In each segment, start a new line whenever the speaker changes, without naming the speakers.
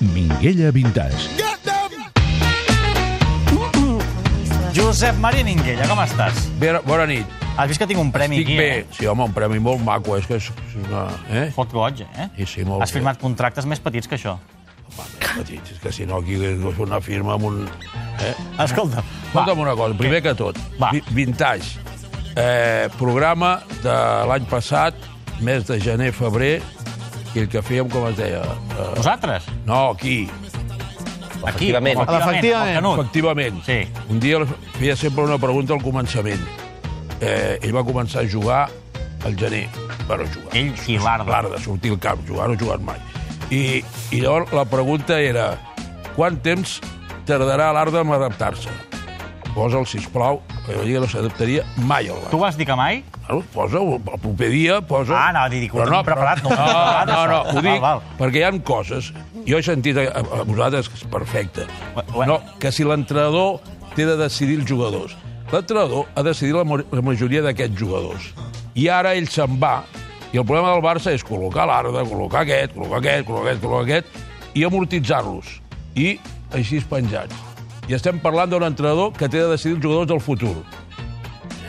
Garriguella Vintage.
Josep Maria Minguella, com estàs?
Bé, bona nit.
Has vist que tinc un premi
Estic
aquí,
bé.
eh?
Sí, home, un premi molt maco. És que és, és una... Eh?
Fot goig, eh?
Sí, sí, molt
Has
bé.
firmat contractes més petits que això.
Petit, és que si no aquí és una firma amb un... Eh?
Escolta, va,
Escolta'm una cosa, primer que tot.
Va.
Vi- Vintage. Eh, programa de l'any passat, mes de gener-febrer, i el que fèiem, com es deia? Eh,
vosaltres,
no, aquí,
aquí,
Efectivament.
efectivament, el Canut.
Efectivament.
Sí.
Un dia li feia sempre una pregunta al començament. Eh, ell va començar a jugar al gener. Bueno, jugar.
Ell sí, l'arda.
L'art de sortir al camp, jugar no ha jugat mai. I, I llavors la pregunta era quant temps tardarà l'Arda en adaptar-se? Posa'l, sisplau, que jo diria no s'adaptaria mai al
Tu
bar.
vas dir que mai?
Bueno, posa'l, el proper dia, posa'l...
Ah, no, dic, ho
Però
tenim preparat, no ho tenim preparat,
No, no,
això.
no, ho dic,
Val, val.
perquè hi ha coses... Jo he sentit a, a a vosaltres que és perfecte.
Bueno.
No, que si l'entrenador té de decidir els jugadors. L'entrenador ha decidit la, mo- la majoria d'aquests jugadors. I ara ell se'n va, i el problema del Barça és col·locar l'Arda, col·locar aquest, col·locar aquest, col·locar aquest, col·locar aquest, i amortitzar-los. I així penjats. I estem parlant d'un entrenador que té de decidir els jugadors del futur.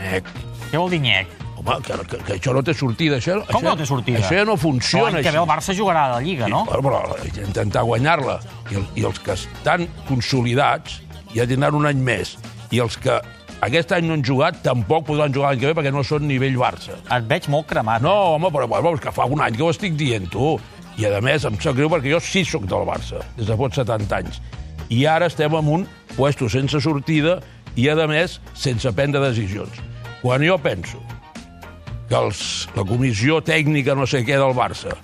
Eh,
Nec.
Què vol dir nyec?
Home, que, que, que això no té sortida, això...
Com
això,
no té sortida?
Això ja no funciona,
L'any que ve el Barça jugarà a la Lliga, no?
Bueno, però hay que intentar guanyar-la. I, el, I els que estan consolidats ja tindran un any més. I els que aquest any no han jugat tampoc podran jugar l'any que ve perquè no són nivell Barça.
Et veig molt cremat.
No, home, però bueno, és que fa un any que ho estic dient, tu. I, a més, em sap greu perquè jo sí sóc del Barça, des de fot 70 anys. I ara estem en un puesto sense sortida i, a més, sense prendre decisions. Quan jo penso que els, la comissió tècnica no sé què del Barça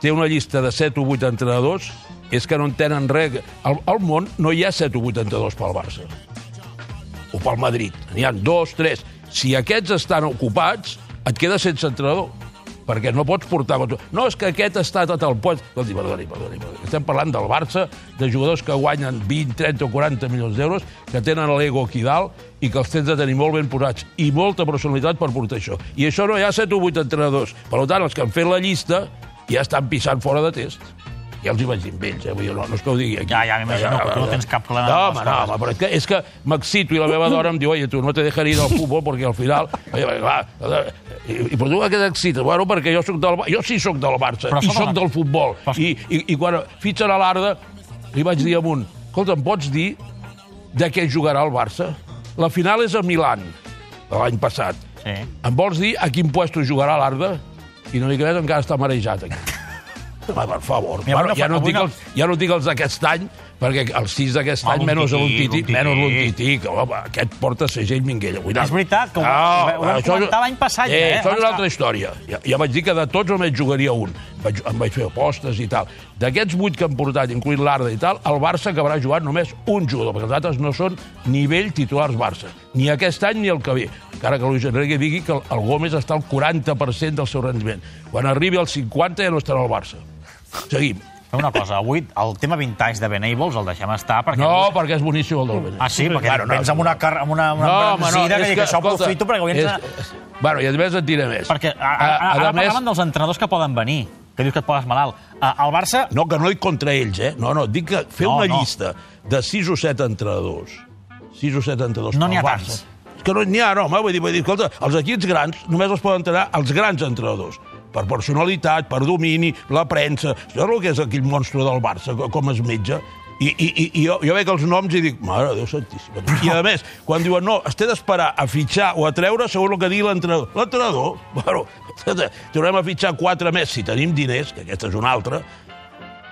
té una llista de 7 o 8 entrenadors, és que no entenen res. Al, al món no hi ha 7 o 8 entrenadors pel Barça. O pel Madrid. N'hi ha dos, tres. Si aquests estan ocupats, et quedes sense entrenador perquè no pots portar... No, és que aquest està tot el post... Doncs, perdoni, perdoni, perdoni. Estem parlant del Barça, de jugadors que guanyen 20, 30 o 40 milions d'euros, que tenen l'ego aquí dalt i que els tens de tenir molt ben posats i molta personalitat per portar això. I això no hi ha 7 o 8 entrenadors. Per tant, els que han fet la llista ja estan pisant fora de test. Ja els hi vaig dir amb ells, eh? Vull dir, no, no és que ho digui aquí.
Ja, ja, m'imagino que tu no
ja.
tens cap clar de
No,
les
home, no,
coses.
home, però és que, és que m'excito i la meva dona em diu, oye, tu no te dejaré ir al futbol perquè al final... Oye, clar, i, i, però tu a què t'excites? Bueno, perquè jo, soc del, Bar- jo sí sóc del Barça
Però
i
escolta,
sóc del futbol.
però-
I, i, i quan fitxen a l'Arda, li vaig dir a un, escolta, em pots dir de què jugarà el Barça? La final és a Milan, l'any passat.
Sí.
Em vols dir a quin puesto jugarà l'Arda? I no dic res, encara està marejat aquí. Home, per favor.
Mira,
bueno,
avui no
ja,
fa-
no
avui
dic
no-
els, ja no dic els d'aquest any, perquè els sis d'aquest
Ah,
any, menys
l'Untití,
l'Untití,
l'Untití.
menys l'Untití, que home, aquest porta segell Minguella. Cuidat.
És veritat, que ho- ho vam
això-
comentar l'any passat,
Eh,
eh?
Això
Abans
és una altra
que-
història. Ja, ja vaig dir que de tots només jugaria un. Vaig, em vaig fer apostes i tal. D'aquests vuit que han portat, incluint l'Arda i tal, el Barça acabarà jugant només un jugador, perquè els altres no són nivell titulars Barça. Ni aquest any ni el que ve. Encara que Luis Enrique digui que el Gómez està al 40% del seu rendiment. Quan arribi al 50 ja no estarà al Barça. Seguim.
Fem una cosa, avui el tema vintage de Benables el deixem estar perquè...
No, perquè és boníssim el del Benítez.
Ah, sí? Perquè
Bueno, no,
vens amb una, car amb una, una embranzida que,
és
dic, això
escolta,
aprofito perquè avui ens...
És... Bueno, i a més et diré més.
Perquè a, a, a, ara més... parlaven dels entrenadors que poden venir, que dius que et poses malalt. A, el Barça...
No, que no hi contra ells, eh? No, no, dic que fer
No,
una
no.
llista de 6 o 7 entrenadors, 6 o 7 entrenadors...
No n'hi ha
pel Barça,
tants.
És que no n'hi ha, no, home, vull dir, vull dir, escolta, els equips grans només els poden entrenar els grans entrenadors per personalitat, per domini, la premsa... Això és el que és aquell monstre del Barça, co- com es metja. I, i, i i jo, jo veig els noms i dic, mare de Déu santíssima. I a més, quan diuen, no, es té d'esperar a fitxar o a treure segons el que digui l'entrenador. L'entrenador, bueno, tornem a fitxar quatre més si tenim diners, que aquesta és una altra,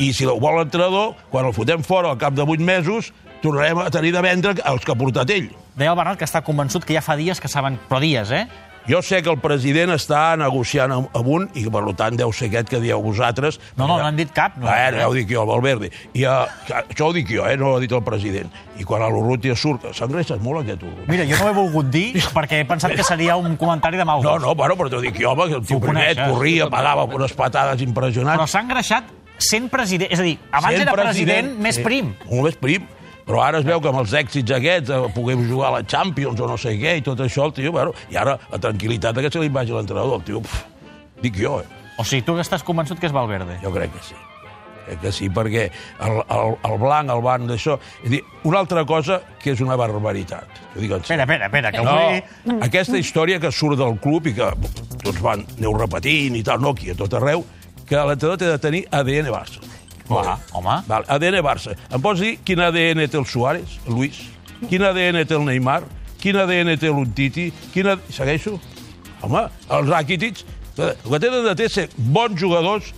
i si ho vol l'entrenador, quan el fotem fora al cap de vuit mesos, tornarem a tenir de vendre els que ha portat ell.
Deia el Bernat que està convençut que ja fa dies que saben... Però dies, eh?
Jo sé que el president està negociant amb, amb un, i per tant deu ser aquest que dieu vosaltres.
No, no, no han dit cap, no.
No, eh, ja ho dic jo, el Valverde. I, uh, això ho dic jo, eh, no ho ha dit el president. I quan a l'Urrutia surt, s'engreixes molt aquest Urrutia.
Mira, jo no ho he volgut dir perquè he pensat que seria un comentari de mal
No,
gust.
no, bueno, però t'ho dic jo, home, que el tio primet
coneixes.
corria, pagava unes patades impressionants.
Però s'ha engreixat sent president. És a dir, abans
Sent
era president, més
sí,
prim.
Molt més prim. Però ara es veu que amb els èxits aquests, eh, poder jugar a la Champions o no sé què, i tot això, el tio, bueno, i ara la tranquil·litat aquesta li vagi a l'entrenador, el tio, pf, dic jo, eh?
O sigui, tu estàs convençut que és Valverde.
jo crec que sí. Eh Que sí, perquè el, el, el blanc, el van d'això... És a dir, Una altra cosa que és una barbaritat. Ho dic en
Espera,
sèrio.
espera, espera, que
No,
avui...
aquesta història que surt del club i que tots van, aneu repetint i tal, no, aquí a tot arreu, que l'entrenador té de tenir ADN Barça.
Clar, home.
Val, ADN Barça. Em pots dir quin ADN té el Suárez, Luis? Quin ADN té el Neymar? Quin ADN té l'Untiti? Quin AD... Segueixo? Home, els Rakitic... eh, El que tenen de té és ser bons jugadors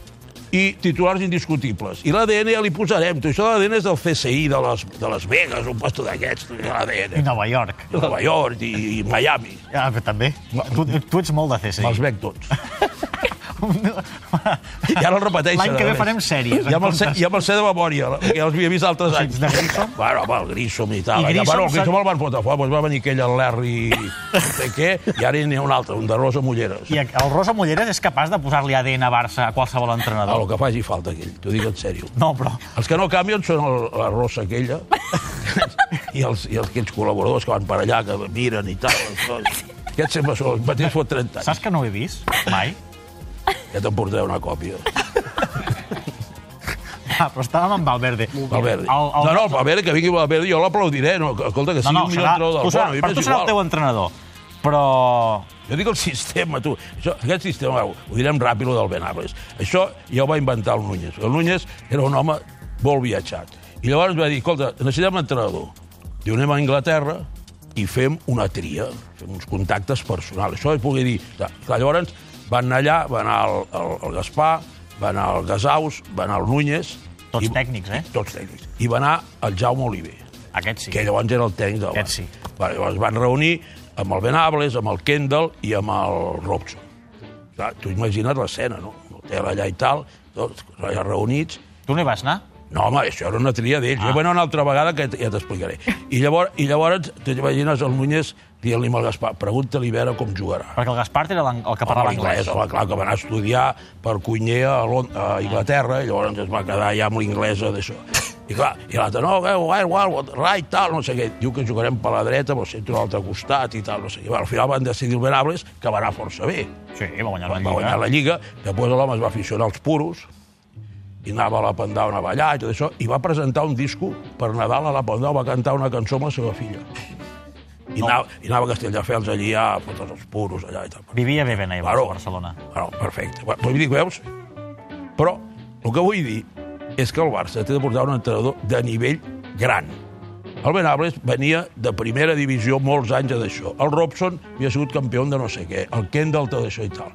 i titulars indiscutibles. I l'ADN ja li posarem. Tu, això de l'ADN és del CSI, de les, de les Vegas, un puesto d'aquests, l'ADN.
I Nova York.
Nova York i, i Miami.
Ja, però també. Tu, tu ets molt de CSI.
Me'ls veig tots.
I
Ja no els repeteixen.
L'any que ve
a més.
farem sèries.
Ja me'ls sé, ja me'ls sé de memòria, perquè ja els havia vist altres
Els
anys.
de Grissom?
Bueno, home, el Grissom i tal.
I
I Grissom,
Grissom
bueno, el
s'ha-
Grissom el van fotre fora, doncs va venir aquell, el Larry, no sé què, i ara n'hi ha un altre, un de Rosa Mulleres.
I el Rosa Mulleres és capaç de posar-li ADN a Barça a qualsevol
A
entrenador.
lo que faci falta aquell, t'ho dic en sèrio.
No, però...
Els que no canvien són el, la rossa aquella i, els, i els, aquells col·laboradors que van per allà, que miren i tal. les coses. Aquests sempre són els mateixos fot 30 anys.
Saps que no ho he vist? Mai.
Ja t'emportaré una còpia.
Ah, però estàvem amb Valverde.
Valverde.
El, el...
No, no, Valverde, que vingui Valverde, jo l'aplaudiré. No, que- escolta, que sigui un millor entrenador del
tu serà,
món. a mi
per
m'és
tu serà el
igual.
teu entrenador. Però...
Jo dic el sistema, tu. Això, aquest sistema, ho, ho direm ràpid, el del Benables. Això ja ho va inventar el Núñez. El Núñez era un home molt viatjat. I llavors va dir, escolta, necessitem entrenador. Diu, anem a Anglaterra i fem una tria, fem uns contactes personals. Això ho pugui dir. Clar, clar, llavors van anar allà, va anar el, el, el Gaspar, va anar el Gasaus, va anar el Núñez...
Tots tècnics, eh?
Tots tècnics. I va anar el Jaume Oliver
Aquest sí.
que llavors era el tècnic del
Aquest sí.
Va, llavors es van reunir amb el Benables, amb el Kendall i amb el Robson. Clar, tu imagina't l'escena, no? L'hotel allà i tal, tots allà reunits.
Tu no hi vas anar?
No, home, això era una tria d'ells. Ah. Jo vaig anar una altra vegada que ja t'explicaré. I llavors, i llavors t'imagines el Núñez dient-li al Gaspar, pregunta-li a veure com jugarà.
Perquè el Gaspar era l'ang- el que
Home,
parlava anglès.
Home, clar, que va anar a estudiar per Cunyer a, Lond a Inglaterra, i llavors es va quedar ja amb l'inglesa d'això. I clar, i l'altre, no, eh, well, well, right, tal, no sé què. Diu que jugarem per la dreta, però sento a l'altre costat i tal, no sé què. Bueno, al final van decidir el Benables, que va anar força bé.
Sí, va guanyar la
Va
Lliga.
guanyar la Lliga, després l'home es va aficionar als puros, i anava a la Pandau, anava allà i tot això, i va presentar un disco per Nadal a la Pandau, va cantar una cançó amb la seva filla. I, no. anava, i anava a Castelldefels allí a fotre els puros allà i tal.
Vivia bé ben a
Claro.
Barcelona.
Bueno, perfecte. Bueno, però vull dir, veus? Però el que vull dir és que el Barça té de portar un entrenador de nivell gran. El Benables venia de primera divisió molts anys a d'això. El Robson havia sigut campió de no sé què. El Kendall tot això i tal.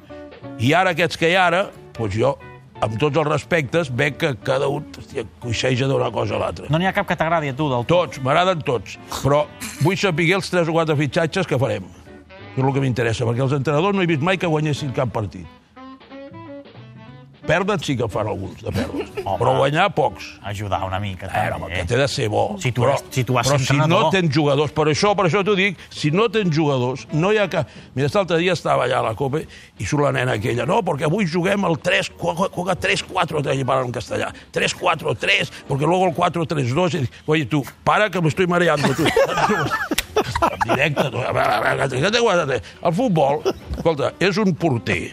I ara aquests que hi ha ara, doncs jo, amb tots els respectes, veig que cada un hòstia, coixeja d'una cosa a l'altra.
No n'hi ha cap que t'agradi a tu, del tot.
Tots, m'agraden tots, però vull saber els 3 o 4 fitxatges que farem. És el que m'interessa, perquè els entrenadors no he vist mai que guanyessin cap partit. Perdre'n sí que en fan alguns, de perdre's.
Home.
Però guanyar, pocs.
Ajudar una mica,
A veure, home,
també. eh?
que té de ser bo.
Si tu has- si tu has
però si
entrenador.
no tens jugadors, per això, per això t'ho dic, si no tens jugadors, no hi ha que... Mira, l'altre dia estava allà a la Copa i surt la nena aquella, no, perquè avui juguem el 3, juega juega 3-4, te parlen en castellà, 3-4-3, perquè luego el 4-3-2, i dic, oye, tu, para que m'estoy mareando, tu. En directe, tu, a veure, a veure, que t'he guardat, eh? el futbol, escolta, és un porter,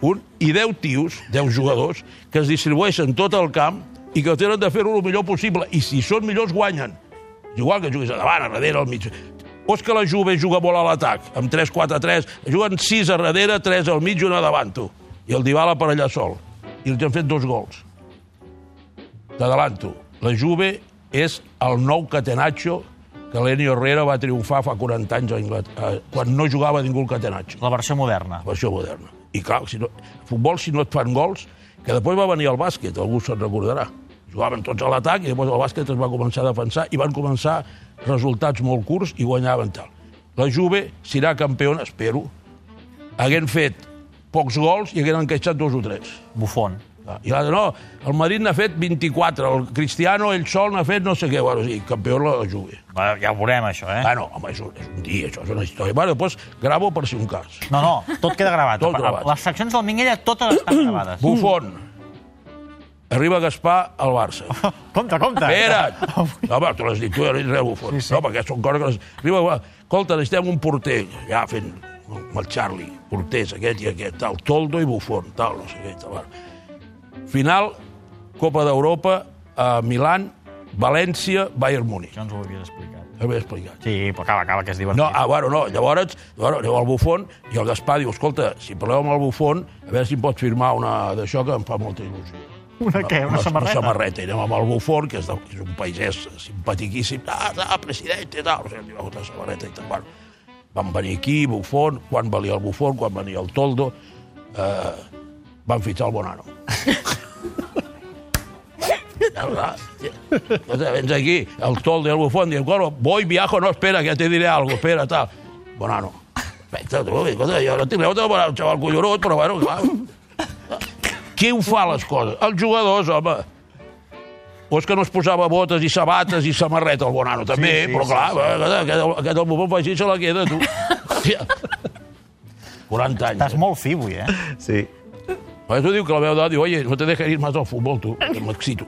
un i 10 tios, 10 jugadors, que es distribueixen tot el camp i que tenen de fer-ho el millor possible. I si són millors, guanyen. És igual que juguis a davant, a darrere, al mig. O és que la Juve juga molt a l'atac, amb 3-4-3, juguen 6 a darrere, 3 al mig i una davant, tu. I el Dybala per allà sol. I els han fet dos gols. T'adalanto. La Juve és el nou Catenaccio que l'Enio Herrera va triomfar fa 40 anys a Inglaterra, eh, quan no jugava ningú al Catenaccio
La versió moderna.
versió moderna. I clar, si no, futbol, si no et fan gols, que després va venir el bàsquet, algú se'n recordarà. Jugaven tots a l'atac i després el bàsquet es va començar a defensar i van començar resultats molt curts i guanyaven tal. La Juve serà campiona, espero, haguent fet pocs gols i haguent encaixat dos o tres. Ah,
Bufón.
I l'altre, no, el Madrid n'ha fet 24, el Cristiano, ell sol, n'ha fet no sé què. Bueno, sí, campió la Juve.
Va, Ja ho veurem, això, eh?
Ah, no, home, és un, és un dia, això és una història. Bueno, després gravo per si un cas.
No, no, tot queda gravat.
Tot gravat.
Les seccions del Minguella totes estan gravades.
Buffon. Arriba Gaspar al Barça.
Compte, compte.
Espera't! No, va, tu l'has dit, tu ja l'has Buffon.
Sí, sí.
No, perquè són coses que... Les... Arriba, va. Escolta, necessitem un porter. Ja fent amb el Charlie, porters aquest i aquest, tal, Toldo i Buffon, tal, no sé què, tal. va. Final, Copa d'Europa, a Milan, València, Bayern Múnich.
Això ens ho havies explicat.
Ho he explicat.
Sí, però acaba, acaba, que és divertit.
No, ah, bueno, no, llavors, llavors aneu al bufón i el Gaspar diu, escolta, si parleu amb el bufón, a veure si em pots firmar una d'això que em fa molta il·lusió.
una què? Una, samarreta?
Una samarreta. I anem amb el bufón, que és, de, és un paisès simpatiquíssim. Ah, ah, president, i tal. O sigui, diu, una samarreta i tal. Bueno, van venir aquí, bufón, quan valia el bufón, quan venia el toldo, eh, van fitxar el Bonano. La verdad. Entonces, vens aquí, el tol del bufón, diu, bueno, voy, viajo, no, espera, que te diré algo, espera, tal. Bonano. Pensa tu, escolta, jo no tinc res contra el xaval collonut, però bueno, clar. Qui ho fa, les coses? Els jugadors, home. O és que no es posava botes i sabates i samarreta al Bonano, també,
sí,
però
sí,
clar, eh,
sí.
aquest, aquest, aquest el bufón fa així i se la queda, tu. Hòstia. 40 anys.
Estàs molt fi, avui, eh?
Sí.
Per això diu que la meva dona diu, oye, no te dejes ir más al futbol, tu, que m'excito.